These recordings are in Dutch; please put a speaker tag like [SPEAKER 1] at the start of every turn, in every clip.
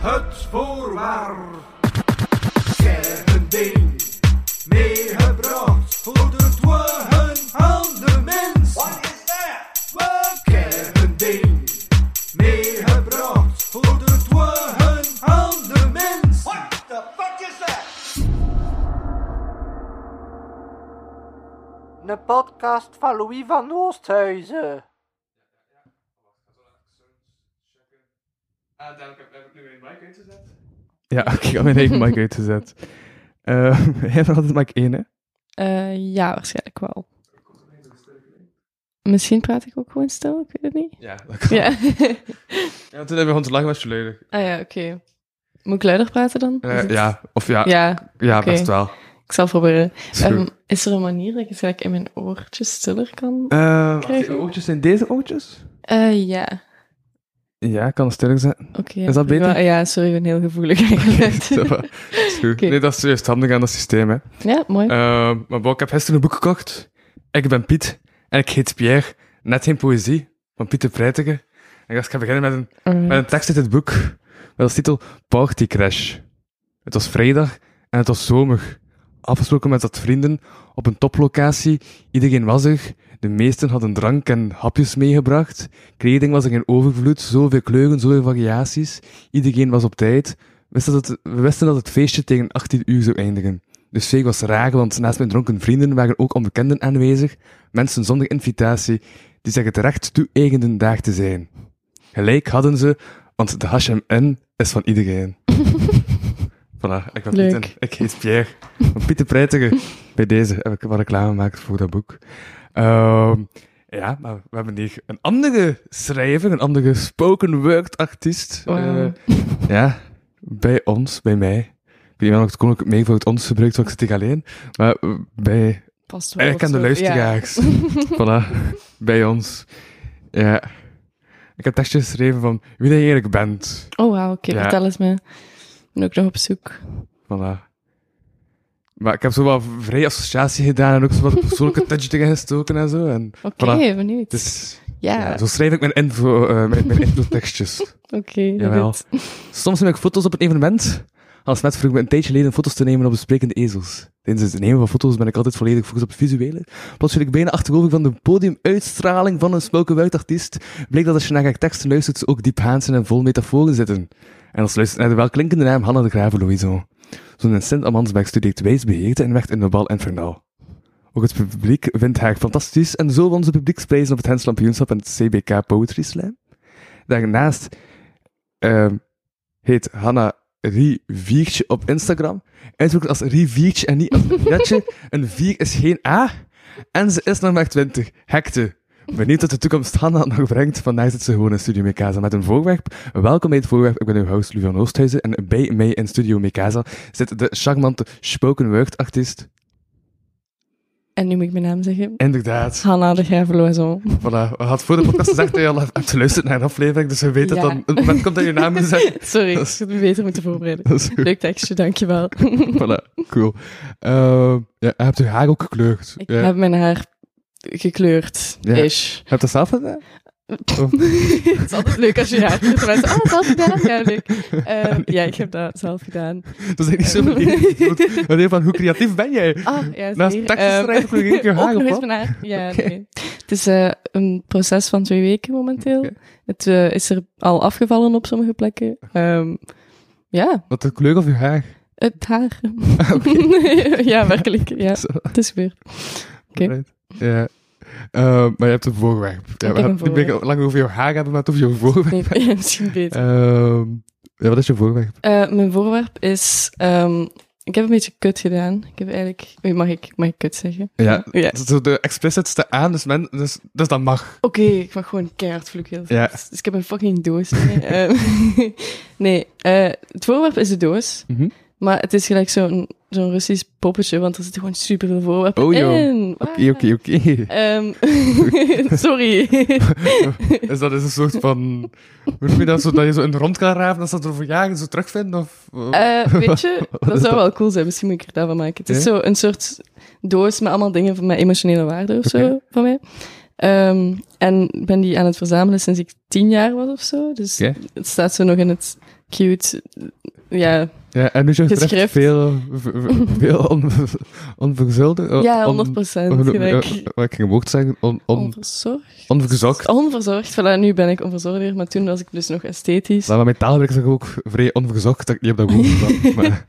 [SPEAKER 1] Het voorwaar. Kerkending. Meegebracht voor de dwaren van de mens. Wat is dat? Kerkending. Meegebracht voor de dwaren van de mens.
[SPEAKER 2] Een podcast van Louis van Oosthuizen.
[SPEAKER 3] Ah, dadelijk heb, heb ik nu mijn mic uitgezet.
[SPEAKER 4] Ja, ik heb mijn eigen mic uitgezet. Eh hij heeft nog altijd mic 1, hè?
[SPEAKER 5] Eh, ja, waarschijnlijk wel. Misschien praat ik ook gewoon stil, ik weet het niet.
[SPEAKER 4] Ja,
[SPEAKER 5] Ja.
[SPEAKER 4] ja, toen hebben we gewoon te lachen was volledig.
[SPEAKER 5] ah ja, oké. Moet ik luider praten dan? Is
[SPEAKER 4] Eh
[SPEAKER 5] het-
[SPEAKER 4] ja, of ja, ja,
[SPEAKER 5] Ja, oké.
[SPEAKER 4] best wel.
[SPEAKER 5] ik zal proberen.
[SPEAKER 4] Is goed.
[SPEAKER 5] Ehm, is er een manier dat ik het gelijk in mijn oortjes stiller kan?
[SPEAKER 4] Eh, wacht,
[SPEAKER 5] krijg
[SPEAKER 4] die
[SPEAKER 5] ik-
[SPEAKER 4] oortjes zijn deze oortjes?
[SPEAKER 5] Eh, ja,
[SPEAKER 4] Ja, ik kan het sterk zijn.
[SPEAKER 5] oké.
[SPEAKER 4] Is dat beter?
[SPEAKER 5] Ja, ja, sorry, ik ben heel gevoelig eigenlijk.
[SPEAKER 4] is goed.
[SPEAKER 5] Oké.
[SPEAKER 4] Nee, dat is juist handig aan dat systeem, hè.
[SPEAKER 5] ja, mooi.
[SPEAKER 4] Eh, maar bon, ik heb gisteren een boek gekocht. Ik ben Piet en ik heet Pierre. Net geen poëzie, van Piet de Prijtige. En ik dacht, ik ga beginnen met een
[SPEAKER 5] Alright.
[SPEAKER 4] Met een tekst uit het boek met als titel Party Crash. Het was vrijdag en het was zomer. Afgesproken met wat vrienden op een toplocatie. Iedereen was er. De meesten hadden drank en hapjes meegebracht. Kleding was er in overvloed. Zoveel kleuren, zoveel variaties. Iedereen was op tijd. We wisten dat het, we wisten dat het feestje tegen 18 uur zou eindigen. De sfeer was raar, want naast mijn dronken vrienden waren ook onbekenden aanwezig. Mensen zonder invitatie, die zich het recht toe-eigenden daar te zijn. Gelijk hadden ze, want de HMN is van iedereen. voilà, ik ben Piet
[SPEAKER 5] Leuk.
[SPEAKER 4] en ik heet Pierre. Van Pieter Prijtige. Bij deze heb ik wat reclame gemaakt voor dat boek. Ehm, ja, maar we hebben hier een andere schrijver, een andere spoken word artiest.
[SPEAKER 5] Wauw.
[SPEAKER 4] eh, ja, bij ons, bij mij. Ik weet niet of het koninklijk meervoud ons gebruikt, want ik zit hier alleen. Maar eh, bij
[SPEAKER 5] Past wel.
[SPEAKER 4] Eigenlijk aan
[SPEAKER 5] of
[SPEAKER 4] eh, de
[SPEAKER 5] zo. Ja.
[SPEAKER 4] luisteraars. voilà, bij ons. Ja. Ik heb tekstjes geschreven van wie dat je eigenlijk bent.
[SPEAKER 5] Oh, wauw, oké,
[SPEAKER 4] Ja.
[SPEAKER 5] vertel eens me. Ik ben ook nog op zoek.
[SPEAKER 4] Voilà. Maar ik heb zo wat vrij associatie gedaan en ook zo wat persoonlijke touch erin gestoken en zo. En
[SPEAKER 5] Oké, benieuwd.
[SPEAKER 4] het is,
[SPEAKER 5] ja,
[SPEAKER 4] ja, zo schrijf ik mijn, info, eh, mijn, mijn intro-tekstjes.
[SPEAKER 5] oké.
[SPEAKER 4] Jawel.
[SPEAKER 5] goed.
[SPEAKER 4] Soms neem ik foto's op een evenement. Als net vroeg me een tijdje geleden foto's te nemen op besprekende ezels. Tijdens het nemen van foto's ben ik altijd volledig gefocust op het visuele. Plots viel ik bijna achterover van de podiumuitstraling van een spoken word artiest. Bleek dat als je naar haar teksten luistert, ze ook diep haansen en vol metaforen zitten. En als luistert naar de welklinkende naam Hanna de Graven Louison. Zo'n in Sint-Amansberg studeert wijsbeheerte en werd in de bal infernaal. Ook het publiek vindt haar fantastisch en zo won ze publieksprijzen op het Hens Lampioenschap en het CBK Poetry Slam. Daarnaast ehm, heet Hanna Riviertje op Instagram. Uitdrukt als Riviertje en niet als een netje. Een vier is geen A. En ze is nog maar 20. Hekte. Benieuwd wat de toekomst Hanna nog brengt. Vandaag zit ze gewoon in Studio Mekasa met een voorwerp. Welkom bij het voorwerp. Ik ben uw host, Luvan Oosthuizen. En bij mij in Studio Mekasa zit de charmante spoken word artiest.
[SPEAKER 5] En nu moet ik mijn naam zeggen.
[SPEAKER 4] Inderdaad.
[SPEAKER 5] Hanna de Graveloison.
[SPEAKER 4] Voilà. We hadden voor de podcast gezegd dat je al hebt geluisterd naar een aflevering. Dus we weten dat
[SPEAKER 5] Ja.
[SPEAKER 4] dan het moment komt dat je naam gezegd.
[SPEAKER 5] Sorry, ik
[SPEAKER 4] Dat is-
[SPEAKER 5] had me beter moeten voorbereiden.
[SPEAKER 4] Dat is goed.
[SPEAKER 5] Leuk tekstje, dankjewel.
[SPEAKER 4] Voilà, cool. Ehm, ja, je hebt je haar ook gekleurd.
[SPEAKER 5] Ik
[SPEAKER 4] ja.
[SPEAKER 5] heb mijn haar gekleurd.
[SPEAKER 4] Ja.
[SPEAKER 5] Ish.
[SPEAKER 4] Heb je dat zelf gedaan?
[SPEAKER 5] het is altijd leuk als je haar kleurt. De Mensen, oh, dat zelf gedaan? Ja, leuk. Ehm, ja, ik heb dat zelf gedaan.
[SPEAKER 4] Dat is echt niet zo beledigend. Maar nee, van, hoe creatief ben jij?
[SPEAKER 5] Ah, ja,
[SPEAKER 4] Naast
[SPEAKER 5] zeker.
[SPEAKER 4] teksten
[SPEAKER 5] Ehm,
[SPEAKER 4] schrijven kleur ik je
[SPEAKER 5] ook
[SPEAKER 4] haar
[SPEAKER 5] nog
[SPEAKER 4] op,
[SPEAKER 5] eens
[SPEAKER 4] hè?
[SPEAKER 5] mijn haar. Ja, nee. Het is eh, een proces van twee weken momenteel.
[SPEAKER 4] Oké.
[SPEAKER 5] Het eh, is er al afgevallen op sommige plekken. Ehm, ja,
[SPEAKER 4] Wat de kleur of je haar?
[SPEAKER 5] het haar. ja, werkelijk. Ja,
[SPEAKER 4] Ah, Zo,
[SPEAKER 5] het is gebeurd. Oké.
[SPEAKER 4] right. Ja. Ehm, maar je hebt een voorwerp. Ja,
[SPEAKER 5] heb
[SPEAKER 4] we
[SPEAKER 5] een
[SPEAKER 4] hebben- Ik weet niet
[SPEAKER 5] voorwerp.
[SPEAKER 4] lang over je haar hebben, maar het over je voorwerp.
[SPEAKER 5] Nee, ja, misschien beter.
[SPEAKER 4] Ehm, ja, wat is je voorwerp?
[SPEAKER 5] Eh, mijn voorwerp is... ehm, ik heb een beetje kut gedaan. Ik heb eigenlijk... Oei, Mag ik, mag ik kut zeggen?
[SPEAKER 4] Ja,
[SPEAKER 5] Ja.
[SPEAKER 4] dat is zo de explicit staat aan, dus, men, dus, dus dat mag.
[SPEAKER 5] Oké, ik mag gewoon keihard vloeken. heel
[SPEAKER 4] Ja.
[SPEAKER 5] veel. Dus ik heb een fucking doos. Nee, ehm, nee eh, het voorwerp is de doos.
[SPEAKER 4] Mhm.
[SPEAKER 5] Maar het is gelijk zo'n zo'n Russisch poppetje, want er zitten gewoon superveel voorwerpen
[SPEAKER 4] Oh, joh.
[SPEAKER 5] in.
[SPEAKER 4] Oké, oké, oké.
[SPEAKER 5] Ehm, sorry.
[SPEAKER 4] Dus dat is een soort van... Hoe noem je dat? Zo, dat je zo in de rond kan raven, dat ze dat erover jagen, zo terugvinden? Of,
[SPEAKER 5] Eh, weet je,
[SPEAKER 4] is
[SPEAKER 5] dat
[SPEAKER 4] dat?
[SPEAKER 5] zou wel cool zijn. Misschien moet ik er daarvan maken. Het is
[SPEAKER 4] Ja?
[SPEAKER 5] zo een soort doos met allemaal dingen van mijn emotionele waarde of zo
[SPEAKER 4] Oké.
[SPEAKER 5] van mij. Ehm, en ik ben die aan het verzamelen sinds ik tien jaar was of zo. Dus
[SPEAKER 4] Oké.
[SPEAKER 5] het staat zo nog in het cute. Ja,
[SPEAKER 4] Ja, en nu is je
[SPEAKER 5] Geschrift.
[SPEAKER 4] terecht veel, v- v- veel on, onverzulde- o-
[SPEAKER 5] ja
[SPEAKER 4] on-
[SPEAKER 5] 100
[SPEAKER 4] on-
[SPEAKER 5] gelijk.
[SPEAKER 4] ja, Wat ik een woord zeggen, eh, on, on,
[SPEAKER 5] Onverzorgd.
[SPEAKER 4] onverzocht.
[SPEAKER 5] Onverzorgd. Voilà, nu ben ik onverzorgder, maar toen was ik dus nog esthetisch.
[SPEAKER 4] Maar met taalwerk zeg ik ook vrij onverzocht dat ik niet op dat woord kwam. Maar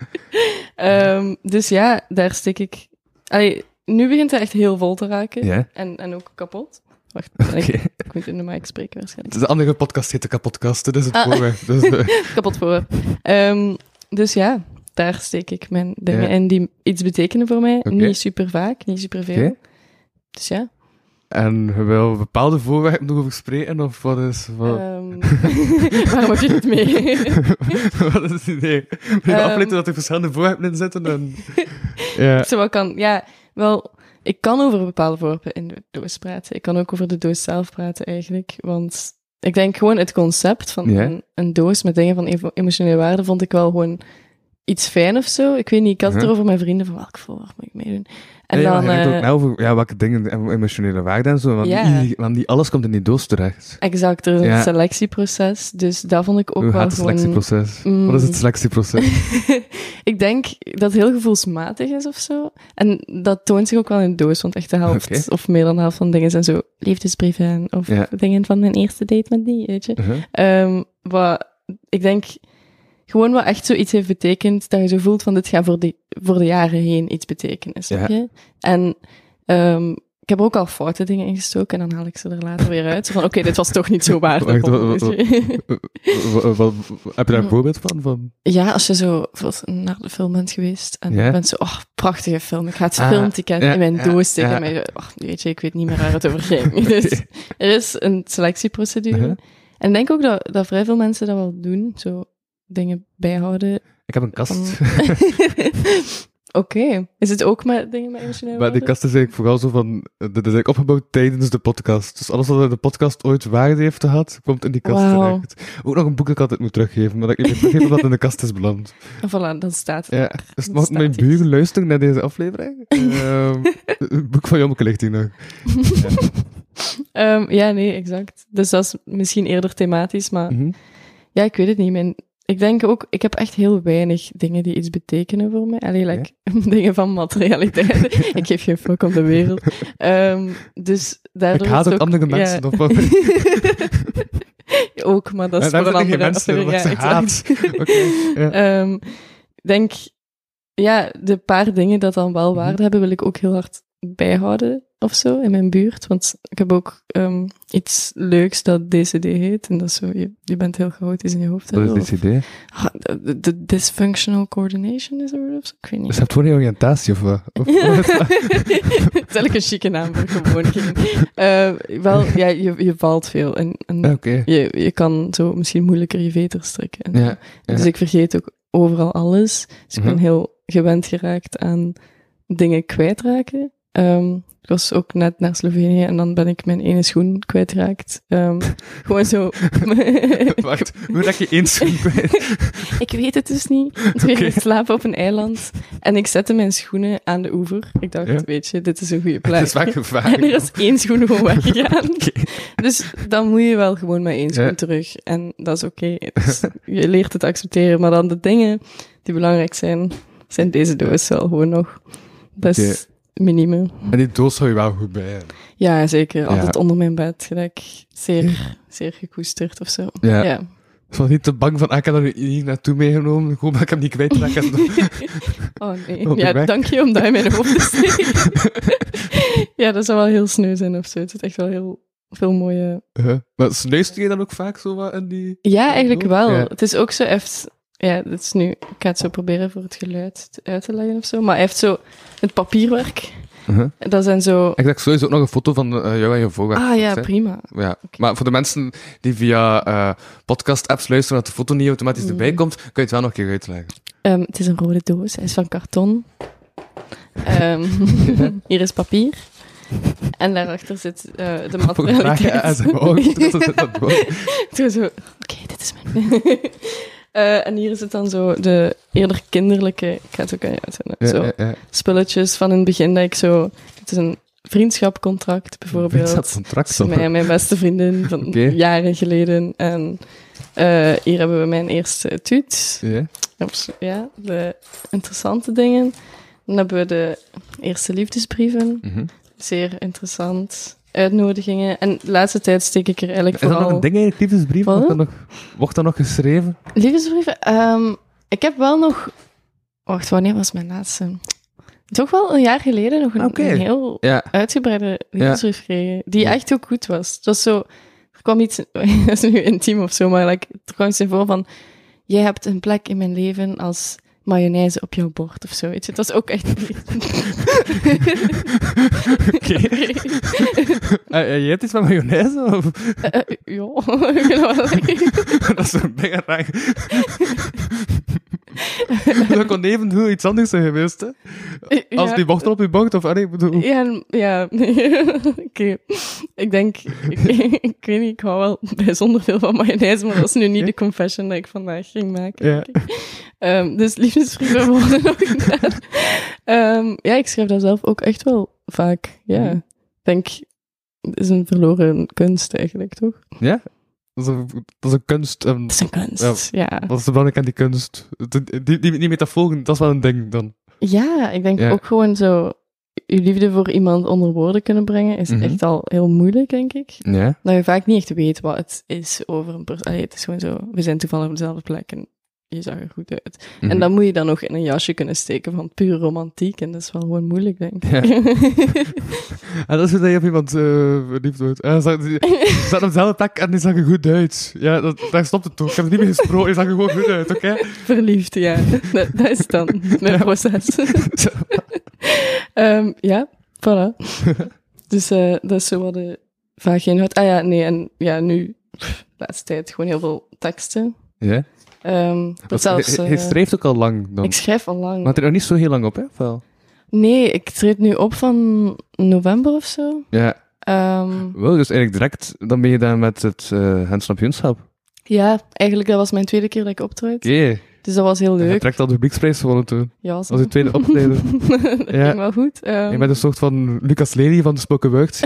[SPEAKER 5] Ehm, dus ja, daar stik ik. Allee, nu begint hij echt heel vol te raken.
[SPEAKER 4] ja,
[SPEAKER 5] En, en ook kapot. Wacht, ben ik,
[SPEAKER 4] oké.
[SPEAKER 5] ik moet in de mic spreken waarschijnlijk.
[SPEAKER 4] Het is een andere podcast, heet de kapotcast. Dit is het
[SPEAKER 5] Ah.
[SPEAKER 4] voorwerp. Dus, eh,
[SPEAKER 5] kapot voor. Ehm, dus ja, daar steek ik mijn dingen
[SPEAKER 4] Ja.
[SPEAKER 5] in die iets betekenen voor mij.
[SPEAKER 4] Oké.
[SPEAKER 5] Niet super vaak, niet super veel.
[SPEAKER 4] Oké.
[SPEAKER 5] Dus ja.
[SPEAKER 4] en je wil bepaalde voorwerpen nog over spreken, of wat is... Wat,
[SPEAKER 5] ehm, waarom heb je het mee?
[SPEAKER 4] wat is het idee? Moet je
[SPEAKER 5] Eh. Ehm.
[SPEAKER 4] afleiden dat er verschillende voorwerpen in zitten? En, ja,
[SPEAKER 5] Zo wel kan, ja, wel, ik kan over bepaalde voorwerpen in de doos praten. Ik kan ook over de doos zelf praten eigenlijk, want ik denk gewoon het concept van
[SPEAKER 4] Ja.
[SPEAKER 5] een, een doos met dingen van evo- emotionele waarde vond ik wel gewoon iets fijn of zo. Ik weet niet, ik had het
[SPEAKER 4] Mhm.
[SPEAKER 5] erover met vrienden van welk voorwerp moet ik meedoen. En
[SPEAKER 4] en ja,
[SPEAKER 5] dan,
[SPEAKER 4] je denkt
[SPEAKER 5] eh,
[SPEAKER 4] ook na over ja, welke dingen hebben emotionele waarde en zo, want,
[SPEAKER 5] Ja.
[SPEAKER 4] niet, want niet alles komt in die doos terecht.
[SPEAKER 5] Exact, er is een
[SPEAKER 4] Ja.
[SPEAKER 5] selectieproces. Dus dat vond ik ook
[SPEAKER 4] Hoe
[SPEAKER 5] wel
[SPEAKER 4] gaat het
[SPEAKER 5] gewoon-
[SPEAKER 4] selectieproces?
[SPEAKER 5] Mm.
[SPEAKER 4] Wat is het selectieproces?
[SPEAKER 5] ik denk dat het heel gevoelsmatig is of zo. En dat toont zich ook wel in de doos, want echt de helft
[SPEAKER 4] Oké.
[SPEAKER 5] of meer dan de helft van dingen zijn zo liefdesbrieven of
[SPEAKER 4] Ja.
[SPEAKER 5] dingen van een eerste date met die, weet je.
[SPEAKER 4] Uh-huh.
[SPEAKER 5] Ehm, wat ik denk gewoon wat echt zoiets heeft betekend, dat je zo voelt van dit gaat voor, die, voor de jaren heen iets betekenen, snap
[SPEAKER 4] Ja.
[SPEAKER 5] je? En ehm, ik heb er ook al foute dingen ingestoken en dan haal ik ze er later weer uit. Zo van, oké, dit was toch niet zo waardevol.
[SPEAKER 4] Wacht, wa- wa-
[SPEAKER 5] weet je.
[SPEAKER 4] Wa- wa- wa- heb je
[SPEAKER 5] Mm.
[SPEAKER 4] daar een voorbeeld van? van?
[SPEAKER 5] Ja, als je zo bijvoorbeeld naar de film bent geweest en
[SPEAKER 4] Ja.
[SPEAKER 5] je bent zo, oh, prachtige film. Ik ga het
[SPEAKER 4] Ah,
[SPEAKER 5] filmticket
[SPEAKER 4] ja,
[SPEAKER 5] in mijn
[SPEAKER 4] ja,
[SPEAKER 5] doos steken.
[SPEAKER 4] ja.
[SPEAKER 5] Maar je- oh, weet je, ik weet niet meer waar het over ging. Dus
[SPEAKER 4] Oké.
[SPEAKER 5] er is een selectieprocedure.
[SPEAKER 4] Uh-huh.
[SPEAKER 5] En ik denk ook dat, dat vrij veel mensen dat wel doen. Zo dingen bijhouden.
[SPEAKER 4] Ik heb een
[SPEAKER 5] van-
[SPEAKER 4] kast.
[SPEAKER 5] Oké. Is het ook met dingen met emotionele
[SPEAKER 4] Maar die
[SPEAKER 5] waarde?
[SPEAKER 4] kast is eigenlijk vooral zo van, eh, dit is eigenlijk opgebouwd tijdens de podcast. Dus alles wat in de podcast ooit waarde heeft gehad, komt in die kast
[SPEAKER 5] Wauw.
[SPEAKER 4] terecht. Ook nog een boek dat ik altijd moet teruggeven, maar dat ik niet meer teruggeef omdat het in de kast is beland.
[SPEAKER 5] En Ah, Voilà, dan staat het.
[SPEAKER 4] Ja, dus
[SPEAKER 5] Dat
[SPEAKER 4] mocht
[SPEAKER 5] staat
[SPEAKER 4] mijn
[SPEAKER 5] iets.
[SPEAKER 4] buren luisteren naar deze aflevering, Ehm, het boek van Jommeke ligt hier nog.
[SPEAKER 5] Ehm, ja, nee, exact. Dus dat is misschien eerder thematisch, maar
[SPEAKER 4] Mhm.
[SPEAKER 5] Ja, ik weet het niet. Mijn, ik denk ook, ik heb echt heel weinig dingen die iets betekenen voor mij. Allee, like, dingen van materialiteit. ik geef geen fuck om de wereld. Ehm, dus daardoor
[SPEAKER 4] Ik
[SPEAKER 5] is
[SPEAKER 4] haat
[SPEAKER 5] het
[SPEAKER 4] ook andere mensen.
[SPEAKER 5] ja.
[SPEAKER 4] Of wat? En
[SPEAKER 5] ook, maar dat is
[SPEAKER 4] daar
[SPEAKER 5] voor een
[SPEAKER 4] zijn geen
[SPEAKER 5] andere
[SPEAKER 4] mensen,
[SPEAKER 5] aflevering.
[SPEAKER 4] omdat ze
[SPEAKER 5] exact.
[SPEAKER 4] haat. Oké, ja.
[SPEAKER 5] Ehm, ik denk, ja, de paar dingen dat dan wel
[SPEAKER 4] Mhm.
[SPEAKER 5] waarde hebben, wil ik ook heel hard bijhouden of zo in mijn buurt. Want ik heb ook ehm, iets leuks dat DCD heet. En dat is zo, je, je bent heel chaotisch in je hoofd.
[SPEAKER 4] Dat is
[SPEAKER 5] daardoor, of-
[SPEAKER 4] dit idee.
[SPEAKER 5] Ah, de- de, de dysfunctional coordination is er of zo? Ik weet
[SPEAKER 4] Dus
[SPEAKER 5] niet.
[SPEAKER 4] je hebt gewoon geen oriëntatie of wat? Of-
[SPEAKER 5] Het is eigenlijk een chique naam voor gewoon geen. Eh, wel, ja, je, je valt veel en, en
[SPEAKER 4] Ja, Oké.
[SPEAKER 5] je, je kan zo misschien moeilijker je veter strikken. en zo.
[SPEAKER 4] Ja, ja.
[SPEAKER 5] Dus ik vergeet ook overal alles. Dus ik ben
[SPEAKER 4] Mhm.
[SPEAKER 5] heel gewend geraakt aan dingen kwijtraken. Ehm, ik was ook net naar Slovenië en dan ben ik mijn ene schoen kwijtgeraakt. Ehm, gewoon zo.
[SPEAKER 4] Wacht, hoe dat je één schoen kwijt?
[SPEAKER 5] Ik weet het dus niet. Want we
[SPEAKER 4] Oké.
[SPEAKER 5] gingen slapen op een eiland. En ik zette mijn schoenen aan de oever. Ik dacht,
[SPEAKER 4] Ja.
[SPEAKER 5] weet je, dit is een goede
[SPEAKER 4] Dat
[SPEAKER 5] plek.
[SPEAKER 4] is vaak gevaarlijk.
[SPEAKER 5] en er is één schoen gewoon weggegaan.
[SPEAKER 4] Oké.
[SPEAKER 5] Dus dan moet je wel gewoon met één schoen
[SPEAKER 4] Ja.
[SPEAKER 5] terug. En dat is oké. Dus je leert het accepteren. Maar dan de dingen die belangrijk zijn, zijn deze doos wel gewoon nog. Dat is minimum.
[SPEAKER 4] En die doos hou je wel goed bij. hè.
[SPEAKER 5] Ja, zeker. Altijd
[SPEAKER 4] Ja.
[SPEAKER 5] onder mijn bed. Gelijk. Zeer, zeer gekoesterd of zo.
[SPEAKER 4] Ja.
[SPEAKER 5] ja.
[SPEAKER 4] Ik was niet te bang van, ah, ik heb dat nu hier naartoe meegenomen. Gewoon dat ik hem niet kwijtraak.
[SPEAKER 5] Oh nee.
[SPEAKER 4] Op de
[SPEAKER 5] ja,
[SPEAKER 4] weg.
[SPEAKER 5] dank je om dat in mijn hoofd te steken. ja, dat zou wel heel sneu zijn of zo. Het is echt wel heel veel mooie.
[SPEAKER 4] Eh, maar snuist je dan ook vaak zo wat in die...
[SPEAKER 5] Ja, eigenlijk wel.
[SPEAKER 4] Ja.
[SPEAKER 5] Het is ook zo even. Ja, dat is nu. Ik ga het zo proberen voor het geluid te- uit te leggen of zo. Maar hij heeft zo het papierwerk.
[SPEAKER 4] Uh-huh.
[SPEAKER 5] Dat zijn zo.
[SPEAKER 4] Ik dacht sowieso ook nog een foto van eh, jou en je voorwerp.
[SPEAKER 5] Ah ja,
[SPEAKER 4] hè?
[SPEAKER 5] prima.
[SPEAKER 4] Ja, maar voor de mensen die via eh, podcast-apps luisteren dat de foto niet automatisch
[SPEAKER 5] Mm.
[SPEAKER 4] erbij komt, kun je het wel nog een keer uitleggen.
[SPEAKER 5] Ehm, het is een rode doos. Hij is van karton. Ehm, hier is papier. En daarachter zit eh, de materialiteit. Toen zo, oké, dit is mijn... Eh, en hier zit dan zo de eerder kinderlijke... Ik ga het ook aan je uitzenden. zo, spulletjes van in het begin dat ik zo... Het is een vriendschapcontract bijvoorbeeld.
[SPEAKER 4] Dat contract
[SPEAKER 5] Tussen mij en mijn beste vriendin van
[SPEAKER 4] Oké.
[SPEAKER 5] jaren geleden. En eh, hier hebben we mijn eerste tuut.
[SPEAKER 4] Ja.
[SPEAKER 5] Op zo- Ja, de interessante dingen. Dan hebben we de eerste liefdesbrieven.
[SPEAKER 4] Mhm.
[SPEAKER 5] Zeer interessant. Uitnodigingen. En de laatste tijd steek ik er eigenlijk
[SPEAKER 4] Is dat nog
[SPEAKER 5] vooral...
[SPEAKER 4] een ding eigenlijk, liefdesbrief? Wordt dat
[SPEAKER 5] Wat?
[SPEAKER 4] nog, wordt dat nog geschreven?
[SPEAKER 5] Liefdesbrieven? Ehm, ik heb wel nog... Wacht, wanneer was mijn laatste? Toch wel een jaar geleden nog een,
[SPEAKER 4] Oké.
[SPEAKER 5] een heel
[SPEAKER 4] Ja.
[SPEAKER 5] uitgebreide liefdesbrief gekregen. Die
[SPEAKER 4] Ja.
[SPEAKER 5] echt ook goed was. Het was zo... Er kwam iets... Dat is nu intiem of zo, maar like, er kwam iets in voor van... Jij hebt een plek in mijn leven als mayonaise op jouw bord of zo. Weet je? Het was ook echt...
[SPEAKER 4] Oké. Eh, eh, je hebt iets met mayonaise? Of?
[SPEAKER 5] Eh, eh, ja, ik weet wel.
[SPEAKER 4] dat is een beetje raar. dat kon even hoe iets anders zijn geweest, hè? Als
[SPEAKER 5] Ja.
[SPEAKER 4] die bocht op je bocht, of... allee, ik bedoel...
[SPEAKER 5] Ja, en- ja. oké. Ik denk, ik, ik weet niet, ik hou wel bijzonder veel van mayonaise, maar dat was nu niet de confession die ik vandaag ging maken.
[SPEAKER 4] Ja.
[SPEAKER 5] denk ik. Ehm, dus liefdesbrieven worden nog gedaan. Ehm, ja, ik schrijf dat zelf ook echt wel vaak. Ja,
[SPEAKER 4] Mhm.
[SPEAKER 5] ik denk, het is een verloren kunst eigenlijk, toch?
[SPEAKER 4] Dat, is een, dat is een kunst. ehm,
[SPEAKER 5] Het is een kunst, ja.
[SPEAKER 4] dat is de belangrijk aan die kunst. Die, die, die, die metaforen, dat is wel een ding dan.
[SPEAKER 5] Ja, ik denk
[SPEAKER 4] Ja.
[SPEAKER 5] ook gewoon zo, je liefde voor iemand onder woorden kunnen brengen is
[SPEAKER 4] Mhm.
[SPEAKER 5] echt al heel moeilijk, denk ik.
[SPEAKER 4] Ja.
[SPEAKER 5] dat je vaak niet echt weet wat het is over een persoon. Allee, Het is gewoon zo, we zijn toevallig op dezelfde plek en je zag er goed uit.
[SPEAKER 4] Mhm.
[SPEAKER 5] En dan moet je dan nog in een jasje kunnen steken van puur romantiek. En dat is wel gewoon moeilijk, denk ik.
[SPEAKER 4] Ja. En dat is hoe dat je op iemand eh verliefd wordt. Eh, zag- die- Ze zat op dezelfde plek en die zag er goed uit. Ja, dat, daar stopt het toch. Ik heb het niet meer gesproken, die zag er gewoon goed uit, oké?
[SPEAKER 5] Verliefd, ja. Dat, dat is dan mijn proces. Ehm, ja, voilà. dus eh, dat is zo wat de vaag inhoud. Ah ja, nee, en ja, nu, pff, de laatste tijd, gewoon heel veel teksten.
[SPEAKER 4] Ja.
[SPEAKER 5] Ehm dat
[SPEAKER 4] Want
[SPEAKER 5] zelfs,
[SPEAKER 4] je-
[SPEAKER 5] eh,
[SPEAKER 4] je streeft ook al lang dan.
[SPEAKER 5] ik schrijf al lang.
[SPEAKER 4] Maar het er nog niet zo heel lang op, hè? Of wel?
[SPEAKER 5] Nee, ik treed nu op van november of zo.
[SPEAKER 4] Ja.
[SPEAKER 5] Ehm,
[SPEAKER 4] Wel, dus eigenlijk direct, dan ben je daar met het eh Hans Kampioenschap. Oké.
[SPEAKER 5] ja, eigenlijk dat was mijn tweede keer dat ik optreed. Dus dat was heel
[SPEAKER 4] En Je
[SPEAKER 5] leuk.
[SPEAKER 4] trekt al de publieksprijs gewonnen toen.
[SPEAKER 5] Ja,
[SPEAKER 4] Als je tweede optreden.
[SPEAKER 5] dat
[SPEAKER 4] Ja.
[SPEAKER 5] ging wel goed. Ehm,
[SPEAKER 4] Je bent een soort van Lucas Lely van de Spoken Word.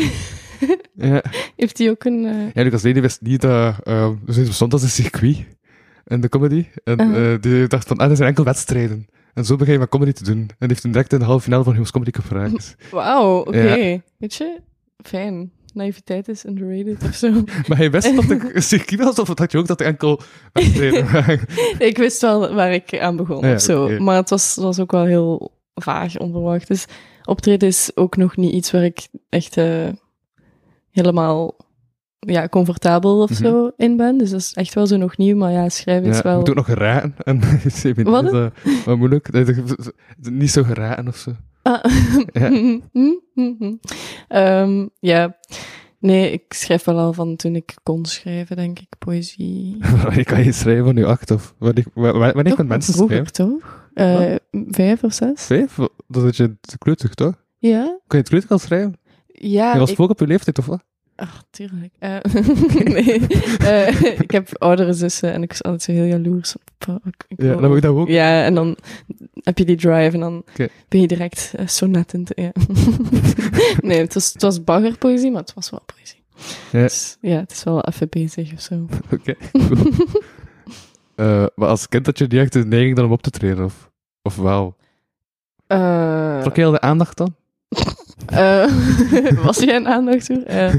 [SPEAKER 4] ja.
[SPEAKER 5] Heeft hij ook een... eh,
[SPEAKER 4] ja, Lucas Lely wist niet dat... eh dus het bestond als een circuit in de comedy. En
[SPEAKER 5] Uh-huh.
[SPEAKER 4] eh, die dacht van, ah, er zijn enkel wedstrijden. En zo begon je met comedy te doen. En die heeft toen direct in de halve finale van Humans Comedy Cup geraakt.
[SPEAKER 5] Wauw, oké.
[SPEAKER 4] Ja.
[SPEAKER 5] Weet je? Fijn. Naïviteit is underrated of zo.
[SPEAKER 4] maar hij wist dat het een circuit was, of dacht je ook dat er enkel wedstrijden waren?
[SPEAKER 5] ik wist wel waar ik aan begon
[SPEAKER 4] Ja,
[SPEAKER 5] of zo.
[SPEAKER 4] oké.
[SPEAKER 5] Maar het was, het was ook wel heel vaag, onverwacht. Dus optreden is ook nog niet iets waar ik echt eh, helemaal ja, comfortabel of zo in ben. Dus dat is echt wel zo nog nieuw. Maar ja, schrijven is
[SPEAKER 4] Mhm. Ja, je
[SPEAKER 5] wel...
[SPEAKER 4] moet ook nog geraten. En je bent
[SPEAKER 5] Wat?
[SPEAKER 4] eh, wat moeilijk. Dat je- Niet zo geraten of zo.
[SPEAKER 5] Ah,
[SPEAKER 4] Ja.
[SPEAKER 5] mhm, mhm. Ehm, ja. Nee, ik schrijf wel al van toen ik kon schrijven, denk ik, poëzie.
[SPEAKER 4] Wanneer kan je schrijven van je acht? Of wanneer, wanneer, wanneer
[SPEAKER 5] Toch
[SPEAKER 4] kunnen mensen schrijven?
[SPEAKER 5] vroeger, toch? Eh, vijf of zes?
[SPEAKER 4] Schrijf? Dat is je te kleutig, toch?
[SPEAKER 5] Ja.
[SPEAKER 4] Kun je het kleutig al schrijven?
[SPEAKER 5] Ja,
[SPEAKER 4] je was
[SPEAKER 5] Ah, ik-
[SPEAKER 4] vroeg op je leeftijd, of wat?
[SPEAKER 5] Ach, tuurlijk. Eh, nee. Eh, ik heb oudere zussen en ik was altijd zo heel jaloers. Op, ik- ik
[SPEAKER 4] Ja,
[SPEAKER 5] wil-
[SPEAKER 4] dan moet ik dat ook.
[SPEAKER 5] Ja, en dan heb je die drive en dan
[SPEAKER 4] Oké.
[SPEAKER 5] ben je direct eh, sonetten. te- ja. nee, het was, het was baggerpoëzie, maar het was wel poëzie.
[SPEAKER 4] Ja.
[SPEAKER 5] Dus, ja, het is wel even bezig of zo.
[SPEAKER 4] Oké. Eh, maar als kind had je niet echt de neiging dan om op te treden, of, of wel?
[SPEAKER 5] Eh,
[SPEAKER 4] Trok je al de aandacht dan?
[SPEAKER 5] eh, was jij een aandachtshoer? Eh,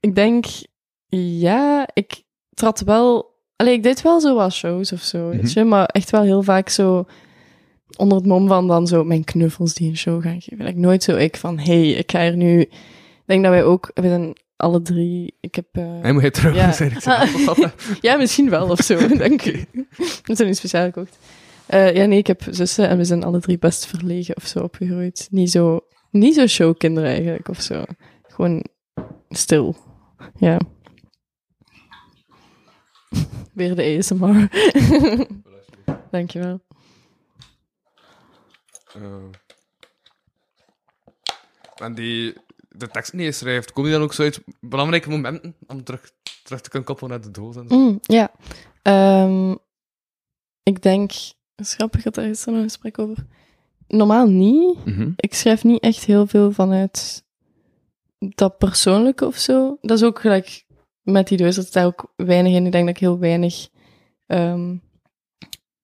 [SPEAKER 5] ik denk, ja, ik trad wel... Allee, ik deed wel zo wat shows of zo, weet je. Maar echt wel heel vaak zo onder het mom van dan zo mijn knuffels die een show gaan geven. Like, nooit zo ik van, hey, ik ga hier nu... Ik denk dat wij ook, we zijn alle drie... Ik heb... eh,
[SPEAKER 4] Hij moet je terug
[SPEAKER 5] Ja.
[SPEAKER 4] zijn. Ik zeg,
[SPEAKER 5] Ah. ja, misschien wel of zo, denk ik. We zijn niet speciaal gekookt. Eh, ja, nee, ik heb zussen en we zijn alle drie best verlegen of zo opgegroeid. Niet zo, niet zo showkinderen eigenlijk of zo. Gewoon stil. Ja. Weer de ASMR. Dankjewel.
[SPEAKER 4] Eh, en die de tekst niet schrijft, kom je dan ook zo uit belangrijke momenten om terug, terug te kunnen koppelen naar de doos en zo?
[SPEAKER 5] Mm, ja. Ehm, ik denk... Het is grappig, ik had daar gisteren
[SPEAKER 4] Mhm.
[SPEAKER 5] nog een gesprek over. Normaal niet. ik schrijf niet echt heel veel vanuit dat persoonlijke of zo, dat is ook gelijk met die doos, dat zit daar ook weinig in. Ik denk dat ik heel weinig ehm,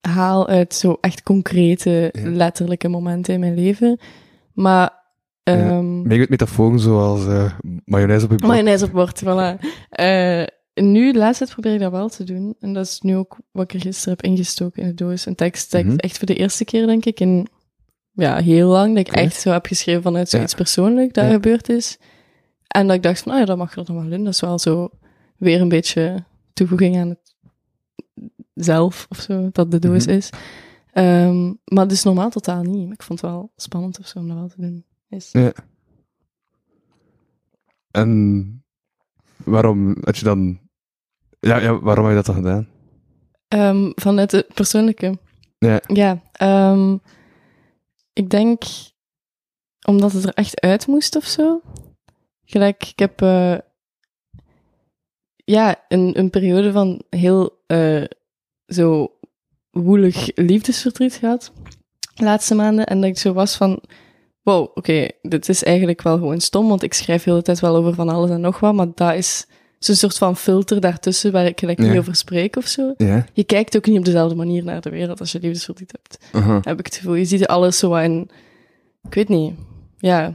[SPEAKER 5] haal uit zo echt concrete,
[SPEAKER 4] Ja.
[SPEAKER 5] letterlijke momenten in mijn leven. Maar ehm
[SPEAKER 4] Mega met metaforen zoals eh mayonaise op je brood.
[SPEAKER 5] mayonaise op bord, voilà. Eh, nu, laatst tijd probeer ik dat wel te doen. En dat is nu ook wat ik er gisteren heb ingestoken in de doos. Een tekst dat ik
[SPEAKER 4] Mhm.
[SPEAKER 5] echt voor de eerste keer, denk ik, in ja, heel lang, dat ik
[SPEAKER 4] Oké.
[SPEAKER 5] echt zo heb geschreven vanuit
[SPEAKER 4] Ja.
[SPEAKER 5] zoiets persoonlijk dat
[SPEAKER 4] Ja.
[SPEAKER 5] gebeurd is. En dat ik dacht van, ah ja, dat mag er nog wel in. Dat is wel zo weer een beetje toevoeging aan het zelf of zo, dat de doos
[SPEAKER 4] Mhm.
[SPEAKER 5] is. Ehm, maar dus normaal totaal niet. Maar ik vond het wel spannend of zo om dat wel te doen. Is.
[SPEAKER 4] Ja. En waarom had je dan... Ja, ja, waarom heb je dat dan gedaan?
[SPEAKER 5] Ehm, vanuit het persoonlijke.
[SPEAKER 4] Ja.
[SPEAKER 5] Ja. ehm, ik denk omdat het er echt uit moest of zo. Gelijk, ik heb eh, ja, een, een periode van heel eh, zo woelig liefdesverdriet gehad. De laatste maanden. En dat ik zo was van, wow, oké, dit is eigenlijk wel gewoon stom. Want ik schrijf de hele tijd wel over van alles en nog wat. Maar dat is zo'n soort van filter daartussen waar ik gelijk
[SPEAKER 4] Ja.
[SPEAKER 5] niet over spreek of zo
[SPEAKER 4] Ja.
[SPEAKER 5] je kijkt ook niet op dezelfde manier naar de wereld als je liefdesverdriet hebt.
[SPEAKER 4] Aha.
[SPEAKER 5] Heb ik het gevoel. Je ziet alles zo en ik weet niet. Ja,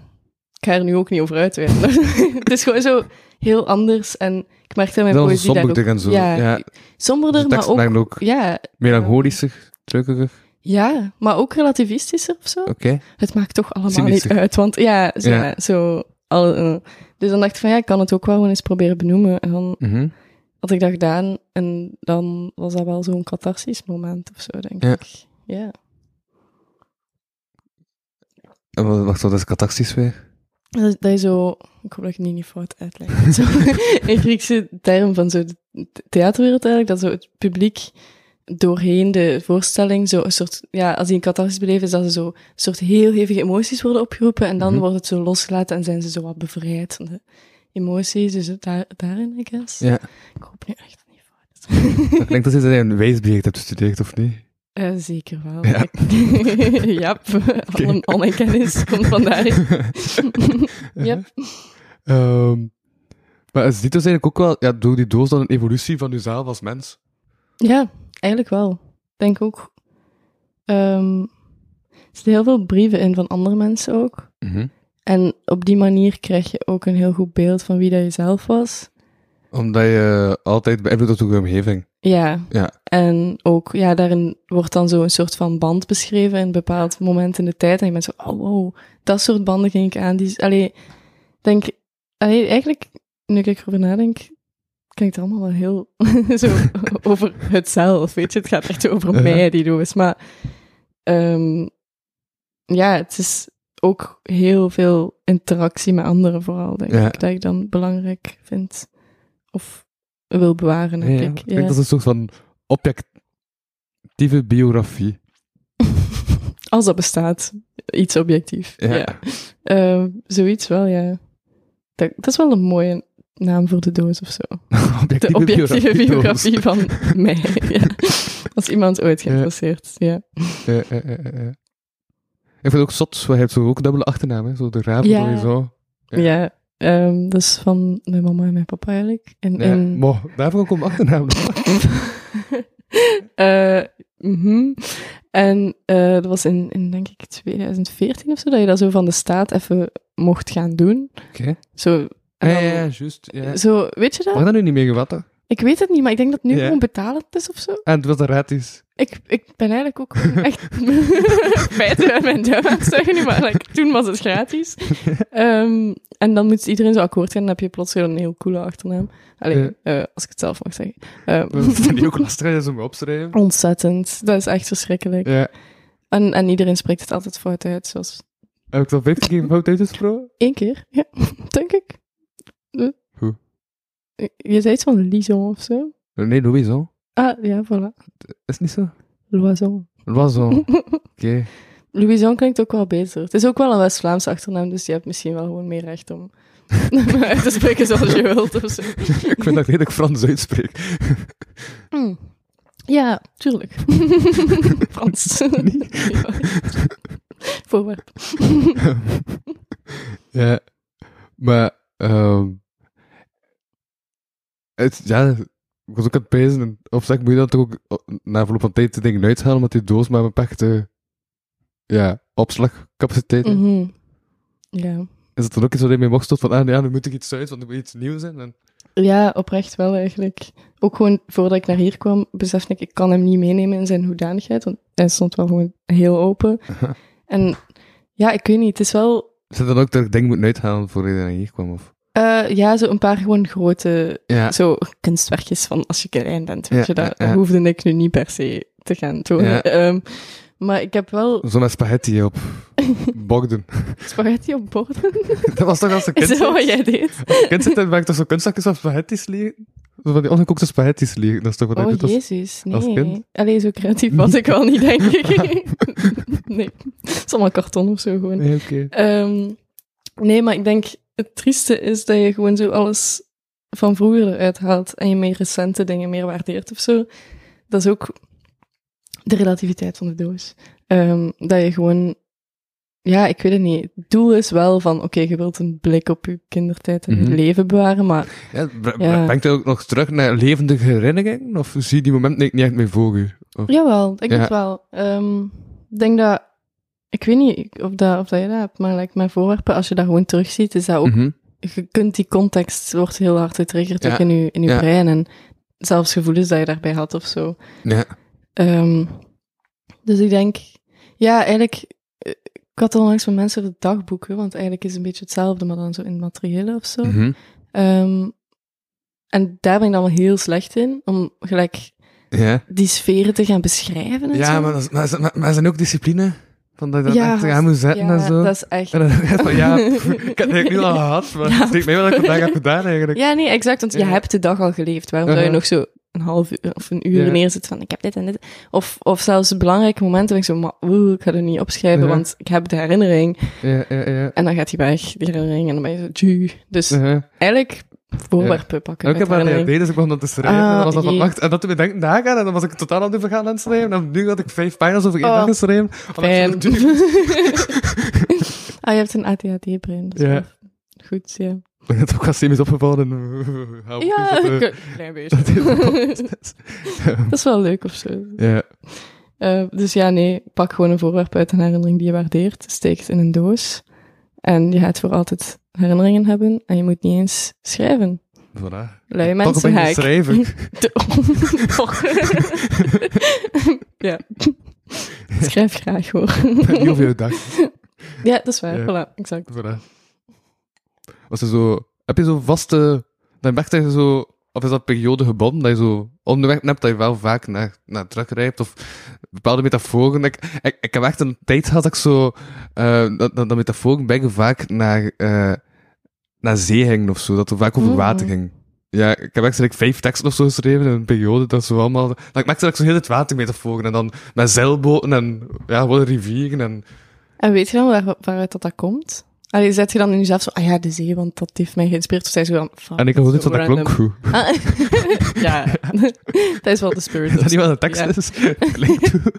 [SPEAKER 5] ik ga er nu ook niet over uitweiden. het is gewoon zo heel anders en ik merk dat mijn
[SPEAKER 4] Dan onze
[SPEAKER 5] poëzie daar ook...
[SPEAKER 4] somberder en zo.
[SPEAKER 5] Ja,
[SPEAKER 4] Ja,
[SPEAKER 5] somberder,
[SPEAKER 4] de
[SPEAKER 5] maar
[SPEAKER 4] teksten
[SPEAKER 5] ook...
[SPEAKER 4] waren ook
[SPEAKER 5] Ja,
[SPEAKER 4] melancholischer, drukkeriger.
[SPEAKER 5] ja, maar ook relativistischer of zo.
[SPEAKER 4] Oké.
[SPEAKER 5] Het maakt toch allemaal
[SPEAKER 4] Cynischer.
[SPEAKER 5] niet uit, want ja, zo...
[SPEAKER 4] Ja.
[SPEAKER 5] zo al, eh. Dus dan dacht ik van, ja, ik kan het ook wel gewoon eens proberen benoemen. En dan
[SPEAKER 4] Mhm.
[SPEAKER 5] had ik dat gedaan en dan was dat wel zo'n catharsis moment of zo, denk
[SPEAKER 4] Ja.
[SPEAKER 5] ik. Ja.
[SPEAKER 4] En wa- Wacht, wat is catharsis weer?
[SPEAKER 5] Dat is, dat je zo, ik hoop dat ik het niet, niet fout uitleg. Zo, een Griekse term van zo de theaterwereld eigenlijk, dat zo het publiek doorheen de voorstelling zo een soort, ja, als die een catharsis beleven, is dat ze zo een soort heel hevige emoties worden opgeroepen en dan
[SPEAKER 4] Mhm.
[SPEAKER 5] wordt het zo losgelaten en zijn ze zo wat bevrijd van de emoties. Dus het daar, daarin, I guess.
[SPEAKER 4] Ja.
[SPEAKER 5] Ik hoop nu echt dat het niet fout. is.
[SPEAKER 4] Dat klinkt alsof je een wijsbeheer hebt gestudeerd, of niet?
[SPEAKER 5] Eh, zeker wel.
[SPEAKER 4] Ja.
[SPEAKER 5] Ik- Jap, al, al mijn kennis komt vandaar. Yep.
[SPEAKER 4] Ehm, maar is dit dus eigenlijk ook wel, ja, door die doos dan een evolutie van jezelf als mens?
[SPEAKER 5] Ja, eigenlijk wel. Ik denk ook. ehm, er zitten heel veel brieven in van andere mensen ook. En op die manier krijg je ook een heel goed beeld van wie dat je zelf was.
[SPEAKER 4] Omdat je altijd beïnvloed wordt door je omgeving.
[SPEAKER 5] Ja.
[SPEAKER 4] Ja.
[SPEAKER 5] En ook, ja, daarin wordt dan zo een soort van band beschreven in een bepaald moment in de tijd. En je bent zo, oh wow, dat soort banden ging ik aan. Die, is- allee, ik denk, allee, eigenlijk, nu ik erover nadenk, klinkt het allemaal wel heel zo over het zelf, weet je. Het gaat echt over
[SPEAKER 4] Ja.
[SPEAKER 5] mij, die doos. Maar ehm, ja, het is ook heel veel interactie met anderen vooral, denk
[SPEAKER 4] Ja.
[SPEAKER 5] ik, dat ik dan belangrijk vind. Of wil bewaren, denk ik.
[SPEAKER 4] Ik denk dat is een soort van objectieve biografie.
[SPEAKER 5] Als dat bestaat. Iets objectief. Ja. Ehm, zoiets wel, ja. Dat, dat is wel een mooie naam voor de doos of zo. De
[SPEAKER 4] objectieve,
[SPEAKER 5] objectieve
[SPEAKER 4] biografie.
[SPEAKER 5] biografie van mij. Ja. Als iemand ooit
[SPEAKER 4] Ja.
[SPEAKER 5] geïnteresseerd. Ja.
[SPEAKER 4] Ja, ja, ja, ja, ja. Ik vind het ook zot, want je hebt zo ook dubbele achternaam, hè? zo de raven
[SPEAKER 5] Ja.
[SPEAKER 4] sowieso. Ja.
[SPEAKER 5] Ja. ehm, dat is van mijn mama en mijn papa eigenlijk. En,
[SPEAKER 4] Ja,
[SPEAKER 5] en-
[SPEAKER 4] mo, daarvoor ook een achternaam.
[SPEAKER 5] Eh, mhm. En eh, dat was in, in, denk ik, 2014 of zo, dat je dat zo van de staat even mocht gaan doen.
[SPEAKER 4] Oké.
[SPEAKER 5] Zo,
[SPEAKER 4] Ja,
[SPEAKER 5] en
[SPEAKER 4] ja,
[SPEAKER 5] dan-
[SPEAKER 4] ja, juist. Ja.
[SPEAKER 5] zo, weet je dat?
[SPEAKER 4] Mag dat nu niet meer gewatten?
[SPEAKER 5] Ik weet het niet, maar ik denk dat het nu
[SPEAKER 4] Ja.
[SPEAKER 5] gewoon betalend is of zo.
[SPEAKER 4] En het was gratis.
[SPEAKER 5] Ik, ik ben eigenlijk ook gewoon echt feiten uit mijn duim aan het zeggen nu, maar like, toen was het gratis. Ehm, en dan moet iedereen zo akkoord gaan, dan heb je plots weer een heel coole achternaam. Alleen,
[SPEAKER 4] Ja.
[SPEAKER 5] als ik het zelf mag zeggen. Ehm,
[SPEAKER 4] Dat is niet ook lastig als ze me opschrijven.
[SPEAKER 5] ontzettend, dat is echt verschrikkelijk.
[SPEAKER 4] Ja.
[SPEAKER 5] En, en iedereen spreekt het altijd fout uit, zoals
[SPEAKER 4] Heb ik dat 50 keer fout uitgesproken?
[SPEAKER 5] één keer, ja, denk ik. Eh.
[SPEAKER 4] Hoe?
[SPEAKER 5] Je zei iets van Lison of zo.
[SPEAKER 4] Nee, Louison.
[SPEAKER 5] Ah, ja, voilà.
[SPEAKER 4] Is niet zo?
[SPEAKER 5] Loison.
[SPEAKER 4] Loison. Oké.
[SPEAKER 5] Louison klinkt ook wel beter. Het is ook wel een West-Vlaamse achternaam, dus je hebt misschien wel gewoon meer recht om hem uit te spreken zoals je wilt of zo.
[SPEAKER 4] ik vind dat ik redelijk Frans uitspreek.
[SPEAKER 5] Hmm. Ja, tuurlijk. Frans. Ja. Voorwerp.
[SPEAKER 4] Ja. Maar Ehm, het, ja, ik was ook aan het pijzen. en Op zich moet je dan toch ook o- na verloop van tijd de dingen uithalen, omdat die doos maar een beperkte ja, opslagcapaciteit heeft.
[SPEAKER 5] Mhm. Ja.
[SPEAKER 4] Is dat dan ook iets waar je mee mocht stoot van, ah, ja, nu moet ik iets uit, want er moet iets nieuws zijn. En,
[SPEAKER 5] Ja, oprecht wel eigenlijk. Ook gewoon voordat ik naar hier kwam, besefte ik, ik kan hem niet meenemen in zijn hoedanigheid, want hij stond wel gewoon heel open. En ja, ik weet niet, het is wel,
[SPEAKER 4] zijn dan ook dat ik dingen moet uithalen voor je naar hier kwam? Of?
[SPEAKER 5] eh, ja, zo een paar gewoon grote
[SPEAKER 4] Ja,
[SPEAKER 5] zo kunstwerkjes van als je klein bent, weet
[SPEAKER 4] Ja,
[SPEAKER 5] je, dat
[SPEAKER 4] ja, ja.
[SPEAKER 5] hoefde ik nu niet per se te gaan tonen.
[SPEAKER 4] Ja.
[SPEAKER 5] Ehm, maar ik heb wel
[SPEAKER 4] zo met spaghetti op bogden.
[SPEAKER 5] spaghetti op borden.
[SPEAKER 4] dat was toch als een
[SPEAKER 5] Is
[SPEAKER 4] kind
[SPEAKER 5] dat wat jij deed?
[SPEAKER 4] Als je kind zit, dan ben ik toch zo kunstzakjes van spaghetti's liggen? Zo van die ongekookte spaghetti's liggen. Dat is toch wat ik
[SPEAKER 5] Oh,
[SPEAKER 4] doe? Dat is-
[SPEAKER 5] jezus,
[SPEAKER 4] als
[SPEAKER 5] nee.
[SPEAKER 4] kind?
[SPEAKER 5] Allee, zo creatief was ik wel niet, denk ik. nee, het is allemaal karton of zo gewoon.
[SPEAKER 4] Nee, oké.
[SPEAKER 5] Ehm, nee, maar ik denk het trieste is dat je gewoon zo alles van vroeger eruit haalt en je meer recente dingen meer waardeert of zo. Dat is ook de relativiteit van de doos. Ehm, dat je gewoon, ja, ik weet het niet. Het doel is wel van, oké, je wilt een blik op je kindertijd en
[SPEAKER 4] Mhm.
[SPEAKER 5] je leven bewaren, maar
[SPEAKER 4] Ja, bre- bre-
[SPEAKER 5] Ja.
[SPEAKER 4] Brengt dat ook nog terug naar levendige herinneringen? Of zie je die moment niet niet echt meer voor je? Of-
[SPEAKER 5] jawel, ik
[SPEAKER 4] Ja.
[SPEAKER 5] denk wel. Ehm, ik denk dat, ik weet niet of, dat, of dat je dat hebt, maar like, mijn voorwerpen, als je dat gewoon terugziet, is dat ook
[SPEAKER 4] Mhm.
[SPEAKER 5] je kunt die context wordt heel hard getriggerd
[SPEAKER 4] Ja.
[SPEAKER 5] ook in je, in je
[SPEAKER 4] Ja.
[SPEAKER 5] brein en zelfs gevoelens dat je daarbij had of zo.
[SPEAKER 4] Ja.
[SPEAKER 5] Ehm, dus ik denk, ja, eigenlijk, eh, ik had onlangs met mensen het dagboeken, want eigenlijk is het een beetje hetzelfde, maar dan zo in het materiële of zo.
[SPEAKER 4] Mhm.
[SPEAKER 5] Ehm, en daar ben ik dan wel heel slecht in, om gelijk
[SPEAKER 4] Ja.
[SPEAKER 5] die sferen te gaan beschrijven en
[SPEAKER 4] Ja,
[SPEAKER 5] zo.
[SPEAKER 4] maar, dat is- maar, is- maar, maar is dan ook discipline? Van dat je dat
[SPEAKER 5] Ja,
[SPEAKER 4] echt aan moet zetten
[SPEAKER 5] Ja,
[SPEAKER 4] en zo?
[SPEAKER 5] dat is echt...
[SPEAKER 4] En dan denk je van, ja, pff, ik heb het eigenlijk nu al gehad, maar
[SPEAKER 5] Ja.
[SPEAKER 4] het steekt mij wat ik vandaag heb gedaan eigenlijk.
[SPEAKER 5] Ja, nee, exact. Want je
[SPEAKER 4] Ja.
[SPEAKER 5] hebt de dag al geleefd. Waarom zou je
[SPEAKER 4] Uh-huh.
[SPEAKER 5] nog zo een half uur of een uur
[SPEAKER 4] Ja.
[SPEAKER 5] neerzitten van ik heb dit en dit. Of, of zelfs belangrijke momenten denk ik zo, maar oeh, ik ga dat niet opschrijven,
[SPEAKER 4] Ja.
[SPEAKER 5] want ik heb de herinnering.
[SPEAKER 4] Ja, ja, ja.
[SPEAKER 5] En dan gaat die weg, die herinnering, en dan ben je zo, tju. Dus
[SPEAKER 4] Uh-huh.
[SPEAKER 5] eigenlijk voorwerpen pakken
[SPEAKER 4] En ik
[SPEAKER 5] met
[SPEAKER 4] heb wel een
[SPEAKER 5] herinnering.
[SPEAKER 4] idee, dus ik begon dat te schrijven.
[SPEAKER 5] Ah,
[SPEAKER 4] en dan was dat van
[SPEAKER 5] jee.
[SPEAKER 4] nacht. En dat toen ik denk nagaan, en dan was ik het totaal aan het vergaan aan het schrijven. En nu had ik vijf pagina's over één
[SPEAKER 5] Oh,
[SPEAKER 4] dag geschreven.
[SPEAKER 5] Fijn.
[SPEAKER 4] Omdat ik zo-
[SPEAKER 5] ah, je hebt een ADHD-brein.
[SPEAKER 4] Ja.
[SPEAKER 5] dus Goed, ja.
[SPEAKER 4] Ik ben het ook als is opgevallen. en- Hou op,
[SPEAKER 5] Ja,
[SPEAKER 4] dat, eh,
[SPEAKER 5] een klein beetje.
[SPEAKER 4] dat is een
[SPEAKER 5] dat is wel leuk of zo.
[SPEAKER 4] Ja,
[SPEAKER 5] Eh, dus ja, nee, pak gewoon een voorwerp uit een herinnering die je waardeert, steek het in een doos en je gaat voor altijd herinneringen hebben en je moet niet eens schrijven.
[SPEAKER 4] voilà.
[SPEAKER 5] Lui
[SPEAKER 4] Toch
[SPEAKER 5] mensen
[SPEAKER 4] ben je
[SPEAKER 5] haak.
[SPEAKER 4] schrijver.
[SPEAKER 5] De- Toch. ja. Schrijf graag hoor.
[SPEAKER 4] Niet over jouw dag.
[SPEAKER 5] Ja, dat is waar.
[SPEAKER 4] Ja.
[SPEAKER 5] Voilà, exact.
[SPEAKER 4] Voilà. Was er zo... Heb je zo vaste... Dan merk je zo... Of is dat periode gebonden? Dat je zo onderwerp hebt dat je wel vaak naar, naar terugrijpt? Of bepaalde metaforen? Ik, ik, ik heb echt een tijd gehad dat ik zo... eh dat, dat, dat metaforen brengen vaak naar, eh naar zee gingen of zo. Dat er vaak over
[SPEAKER 5] Mhm.
[SPEAKER 4] water ging. Ja, ik heb echt like, vijf teksten of zo geschreven in een periode dat zo allemaal... Dat ik merkte dat ik zo heel het watermetaforen en dan met zeilboten en ja, gewoon rivieren en...
[SPEAKER 5] En weet je dan waar, waaruit dat, dat komt? Allee, zet je dan in jezelf zo, ah ja, de zee, want dat heeft mij geïnspireerd. Of zei je zo dan, fuck,
[SPEAKER 4] En ik had
[SPEAKER 5] Oh,
[SPEAKER 4] het
[SPEAKER 5] is zo
[SPEAKER 4] van dat klonk
[SPEAKER 5] random.
[SPEAKER 4] goed.
[SPEAKER 5] Ah, ja, dat is wel de spirit.
[SPEAKER 4] Is
[SPEAKER 5] of
[SPEAKER 4] dat niet wat de
[SPEAKER 5] Ja.
[SPEAKER 4] tekst is? Lijkt toe.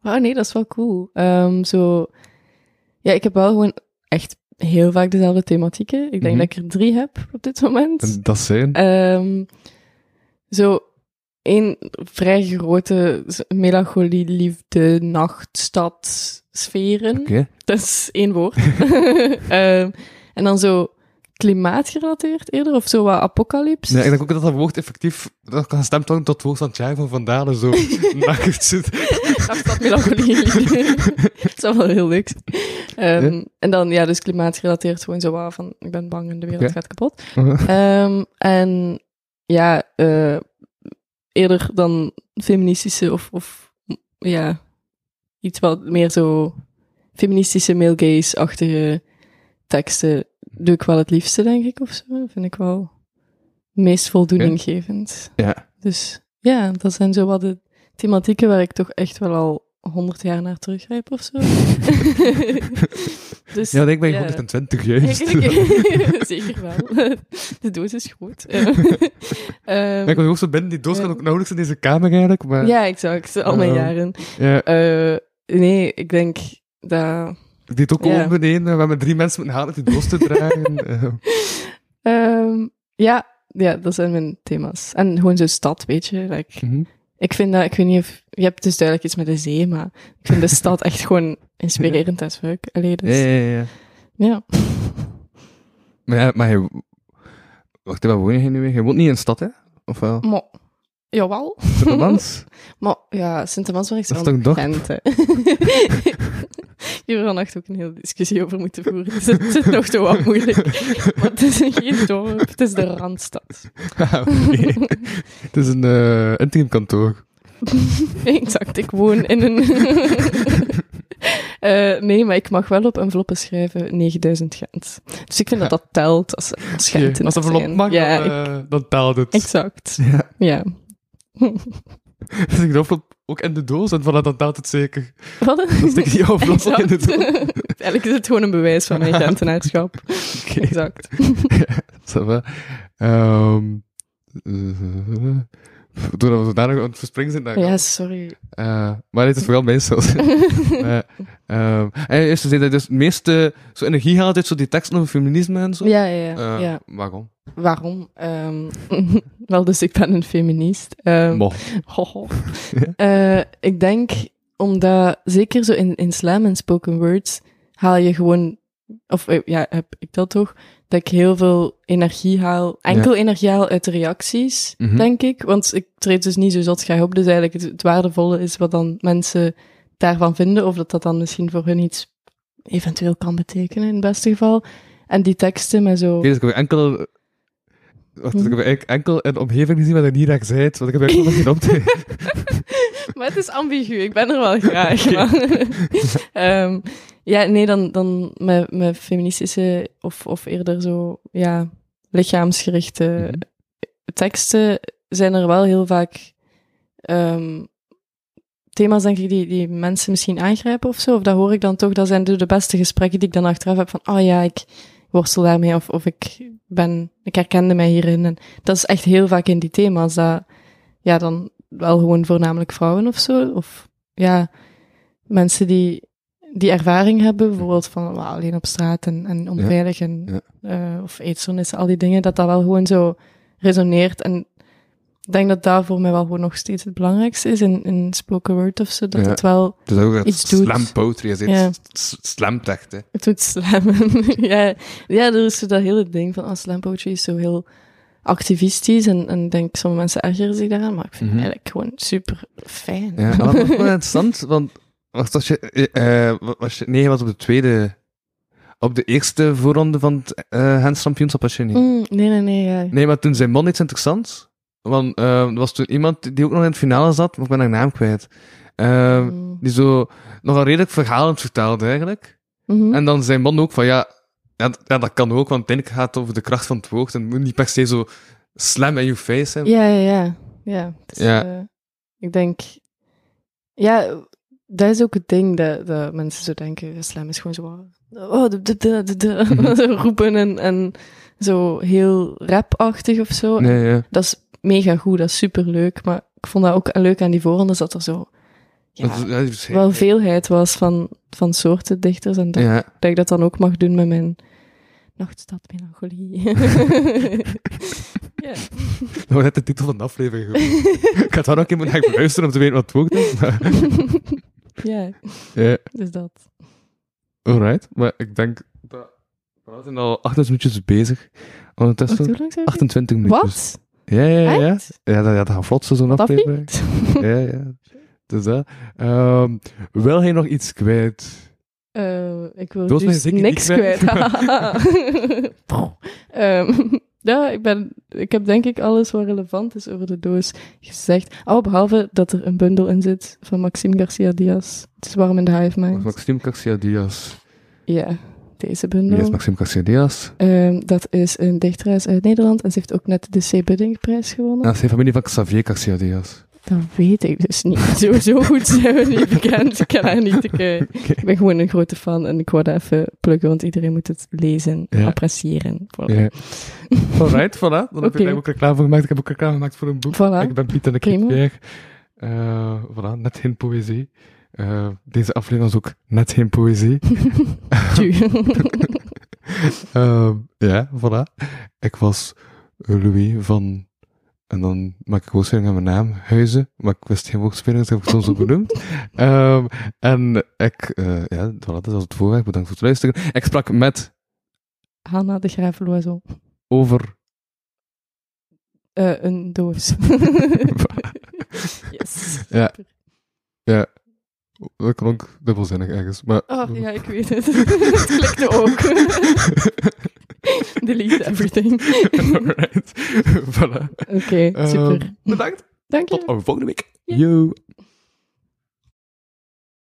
[SPEAKER 5] Wauw, nee, dat is wel cool. Ehm, zo, ja, ik heb wel gewoon echt heel vaak dezelfde thematieken. Ik denk
[SPEAKER 4] Mhm.
[SPEAKER 5] dat ik er drie heb op dit moment.
[SPEAKER 4] En Dat zijn.
[SPEAKER 5] Ehm, zo, één vrij grote z- melancholie, liefde, nacht, stad, sferen.
[SPEAKER 4] Oké.
[SPEAKER 5] Dat is één woord. Ehm, en dan zo klimaatgerelateerd eerder, of zo wat apocalyps.
[SPEAKER 4] Nee, ik denk ook dat dat woord effectief dat kan gestemd worden tot het woord van het jaar van vandaag en zo. Nacht zit.
[SPEAKER 5] Afstand melancholie. Het zou wel heel leuk zijn. Ehm, En dan, ja, dus klimaatgerelateerd gewoon zo wauw, van ik ben bang en de wereld
[SPEAKER 4] Oké.
[SPEAKER 5] gaat kapot. Ehm, en ja, eh, eerder dan feministische of, of ja, iets wat meer zo feministische male gaze-achtige teksten doe ik wel het liefste, denk ik, of zo. Dat vind ik wel meest voldoeninggevend.
[SPEAKER 4] Ja.
[SPEAKER 5] Dus ja, dat zijn zo wat de thematieken waar ik toch echt wel al 100 jaar naar teruggrijp of zo. dus,
[SPEAKER 4] Ja, ik ben
[SPEAKER 5] Ja.
[SPEAKER 4] 120
[SPEAKER 5] ik-
[SPEAKER 4] juist.
[SPEAKER 5] ik- Zeker wel. De doos is groot. Ehm,
[SPEAKER 4] Ja, Ik ben ook zo binnen, die doos
[SPEAKER 5] Ja.
[SPEAKER 4] kan ook nauwelijks in deze kamer eigenlijk, maar... eh,
[SPEAKER 5] ja, exact. Al mijn
[SPEAKER 4] Ehm,
[SPEAKER 5] jaren.
[SPEAKER 4] Ja.
[SPEAKER 5] Eh, nee, ik denk dat
[SPEAKER 4] Ik deed ook
[SPEAKER 5] Ja.
[SPEAKER 4] ook beneden. eh, We hebben drie mensen moeten halen met die doos te dragen. Eh,
[SPEAKER 5] Ehm, ja, ja, dat zijn mijn thema's. En gewoon zo'n stad, weet je. Like,
[SPEAKER 4] mhm.
[SPEAKER 5] ik vind dat, ik weet niet of... Je hebt dus duidelijk iets met de zee, maar ik vind de stad echt gewoon inspirerend als fuck. Allee, dus,
[SPEAKER 4] Ja, ja, ja.
[SPEAKER 5] ja.
[SPEAKER 4] Maar, ja, maar je... Wacht, waar woon je nu weer? Je woont niet in een stad, hè? Of wel?
[SPEAKER 5] Maar, jawel.
[SPEAKER 4] Mans?
[SPEAKER 5] Maar ja, Sint-Amansberg is
[SPEAKER 4] Dat
[SPEAKER 5] wel
[SPEAKER 4] is
[SPEAKER 5] een
[SPEAKER 4] toch
[SPEAKER 5] Gent, hè. Hier vannacht ook een hele discussie over moeten voeren. Dus het zit nog zo wat moeilijk. Maar het is geen dorp, het is de Randstad.
[SPEAKER 4] Ah, Oké. Het is een eh intiem kantoor.
[SPEAKER 5] Exact, ik woon in een... Eh, nee, maar ik mag wel op enveloppen schrijven 9000 Gent. Dus ik vind dat dat telt als, als
[SPEAKER 4] Oké,
[SPEAKER 5] Gent.
[SPEAKER 4] Als dat verloopt mag,
[SPEAKER 5] Ja,
[SPEAKER 4] dan,
[SPEAKER 5] ik-
[SPEAKER 4] eh, dan taalt het.
[SPEAKER 5] exact.
[SPEAKER 4] Ja.
[SPEAKER 5] Ja.
[SPEAKER 4] Dus ik geloof dat ook in de doos en voilà, dan taalt het zeker.
[SPEAKER 5] Wat?
[SPEAKER 4] Dan stik je jouw envelop ook in de
[SPEAKER 5] Exact.
[SPEAKER 4] doos.
[SPEAKER 5] Eigenlijk is het gewoon een bewijs van mijn Gentenaarschap.
[SPEAKER 4] Oké.
[SPEAKER 5] Exact.
[SPEAKER 4] Ça va. Ehm, eh, Doordat we daar nog aan het verspringen zijn. dan-
[SPEAKER 5] Ja, sorry.
[SPEAKER 4] Eh, maar het is vooral meestal. uh, um, en eerst zei dat dus het meeste zo energie haalt uit zo die teksten over feminisme en zo.
[SPEAKER 5] Ja, ja, ja.
[SPEAKER 4] Eh,
[SPEAKER 5] ja.
[SPEAKER 4] Waarom?
[SPEAKER 5] Waarom? Ehm, wel, dus ik ben een feminist. Ehm,
[SPEAKER 4] Mo.
[SPEAKER 5] hoho. Eh, ik denk omdat, zeker zo in, in slam en spoken words, haal je gewoon, of eh, ja, heb ik dat toch, dat ik heel veel energie haal, enkel energie haal uit de reacties,
[SPEAKER 4] Mhm.
[SPEAKER 5] denk ik. Want ik treed dus niet zo zot ga op, dus eigenlijk het, het waardevolle is wat dan mensen daarvan vinden, of dat dat dan misschien voor hun iets eventueel kan betekenen in het beste geval. En die teksten met zo...
[SPEAKER 4] Oké, dus ik heb enkel. Wacht, dus ik
[SPEAKER 5] Hm.
[SPEAKER 4] heb eigenlijk enkel een omgeving gezien waar je niet raak bent, want ik heb eigenlijk nog geen optreden.
[SPEAKER 5] Maar het is ambigu, ik ben er wel graag. maar- Ehm, ja, nee, dan, dan met, met feministische of, of eerder zo ja, lichaamsgerichte
[SPEAKER 4] Mhm.
[SPEAKER 5] teksten zijn er wel heel vaak ehm, thema's, denk ik, die, die mensen misschien aangrijpen of zo. Of dat hoor ik dan toch, dat zijn de, de beste gesprekken die ik dan achteraf heb van, oh ja, ik worstel daarmee of, of ik ben, ik herkende mij hierin. En dat is echt heel vaak in die thema's dat, ja, dan wel gewoon voornamelijk vrouwen of zo. Of ja, mensen die, die ervaring hebben, bijvoorbeeld van wauw, alleen op straat en, en onveilig en,
[SPEAKER 4] ja.
[SPEAKER 5] eh, of eetstoornissen, al die dingen, dat dat wel gewoon zo resoneert. En ik denk dat daar voor mij wel gewoon nog steeds het belangrijkste is in, in spoken word of zo. Dat
[SPEAKER 4] Ja.
[SPEAKER 5] het wel,
[SPEAKER 4] Dus ook dat
[SPEAKER 5] Iets doet.
[SPEAKER 4] slam poetry, je
[SPEAKER 5] Ja.
[SPEAKER 4] zegt s- slamtekst, hè.
[SPEAKER 5] het doet slammen. ja, ja, er is zo dat hele ding van, ah, slam poetry is zo heel activistisch en, en ik denk sommige mensen ergeren zich daaraan, maar ik vind
[SPEAKER 4] Mhm.
[SPEAKER 5] het eigenlijk gewoon super fijn.
[SPEAKER 4] Ja, maar dat is wel interessant, want wacht, was je, eh, eh, was je, nee, je was op de tweede, op de eerste voorronde van het eh Gens Kampioenschap was je niet.
[SPEAKER 5] Mm, nee, nee, nee, ja.
[SPEAKER 4] Nee, maar toen zei man iets interessants, want eh, er was toen iemand die ook nog in het finale zat, maar ik ben haar naam kwijt, Ehm,
[SPEAKER 5] Mm.
[SPEAKER 4] die zo nogal redelijk verhalend vertelde eigenlijk.
[SPEAKER 5] Mhm.
[SPEAKER 4] En dan zei man ook van ja, ja, d- ja, dat kan ook, want uiteindelijk gaat het over de kracht van het woord en het moet niet per se zo slam in je face zijn.
[SPEAKER 5] Ja, ja, ja. ja, het is,
[SPEAKER 4] Ja.
[SPEAKER 5] eh, ik denk... Ja, dat is ook het ding dat, dat mensen zo denken. Slam is gewoon zo... Oh, de, de, de, de, de,
[SPEAKER 4] Mhm.
[SPEAKER 5] zo roepen en, en zo heel rapachtig of zo.
[SPEAKER 4] Nee, ja.
[SPEAKER 5] Dat is mega goed, dat is super leuk. Maar ik vond dat ook leuk aan die voorrondes dat er zo... Ja,
[SPEAKER 4] Dat is- ja, dat is-
[SPEAKER 5] wel veelheid was van, van soorten dichters. En dat,
[SPEAKER 4] Ja.
[SPEAKER 5] dat ik dat dan ook mag doen met mijn nachtstad melancholie. ja.
[SPEAKER 4] Nou, net de titel van de aflevering. ik had daar ook in moeten gaan luisteren om te weten wat het woord is. Maar,
[SPEAKER 5] ja,
[SPEAKER 4] ja,
[SPEAKER 5] dus dat.
[SPEAKER 4] alright. Maar ik denk dat... We zijn al 28 minuutjes bezig.
[SPEAKER 5] Wacht,
[SPEAKER 4] Ondertussen
[SPEAKER 5] hoe lang zijn we?
[SPEAKER 4] 28 minuutjes.
[SPEAKER 5] Wat?
[SPEAKER 4] Ja, ja, ja. Ja,
[SPEAKER 5] Echt?
[SPEAKER 4] ja dat, ja, dat gaat vlot, zo, zo'n
[SPEAKER 5] Dat
[SPEAKER 4] aflevering.
[SPEAKER 5] vliegt?
[SPEAKER 4] Ja, ja. Dus dat. Ehm, wil hij nog iets kwijt?
[SPEAKER 5] Eh, ik wil
[SPEAKER 4] Doos mij
[SPEAKER 5] dus
[SPEAKER 4] zeker niet
[SPEAKER 5] niks
[SPEAKER 4] kwijt.
[SPEAKER 5] kwijt. Ehm, ja, ik, ben, ik heb denk ik alles wat relevant is over de doos gezegd. Oh, behalve dat er een bundel in zit van Maxime Garcia Diaz. Het is warm in de hive mind.
[SPEAKER 4] Maxim Garcia Diaz.
[SPEAKER 5] Ja, deze
[SPEAKER 4] Wie is
[SPEAKER 5] bundel.
[SPEAKER 4] Maxim Garcia Diaz?
[SPEAKER 5] Ehm, dat is een dichteres uit Nederland en ze heeft ook net de C. Buddingprijs gewonnen.
[SPEAKER 4] Dat is de Ah, familie van Xavier Garcia Diaz.
[SPEAKER 5] Dat weet ik dus niet. Zo, zo goed zijn we niet bekend. Ik kan haar niet. Ik, eh, ik ben gewoon een grote fan en ik wou dat even plukken, want iedereen moet het lezen,
[SPEAKER 4] Ja.
[SPEAKER 5] appreciëren. Voilà.
[SPEAKER 4] Ja. Alright, voilà. Dan heb ik
[SPEAKER 5] Oké.
[SPEAKER 4] daar ook reclame voor gemaakt. Ik heb ook reclame gemaakt voor een boek.
[SPEAKER 5] Voilà.
[SPEAKER 4] Ik ben Piet en ik
[SPEAKER 5] Prima.
[SPEAKER 4] ben Pierre. Eh, voilà, net geen poëzie. Eh, Eh, deze aflevering was ook net geen poëzie.
[SPEAKER 5] Tju.
[SPEAKER 4] Ehm, ja, voilà. Ik was Louis van... En dan maak ik woordspeling aan mijn naam, Huizen. Maar ik wist geen woordspeling, dus heb ik het soms ook benoemd. Ehm, en ik... eh, ja, voilà, dat was het voorwerp. Bedankt voor het luisteren. Ik sprak met
[SPEAKER 5] Hanna de Graveloiseau.
[SPEAKER 4] over...
[SPEAKER 5] Eh een doos. yes.
[SPEAKER 4] Ja. Ja, dat klonk dubbelzinnig ergens, maar...
[SPEAKER 5] Oh, ja, ik weet het. het klikte ook. Delete everything.
[SPEAKER 4] Alright. voilà.
[SPEAKER 5] Oké, super.
[SPEAKER 4] Ehm, bedankt.
[SPEAKER 5] Dank je.
[SPEAKER 4] Tot over volgende week.
[SPEAKER 5] Ja.
[SPEAKER 4] Yo.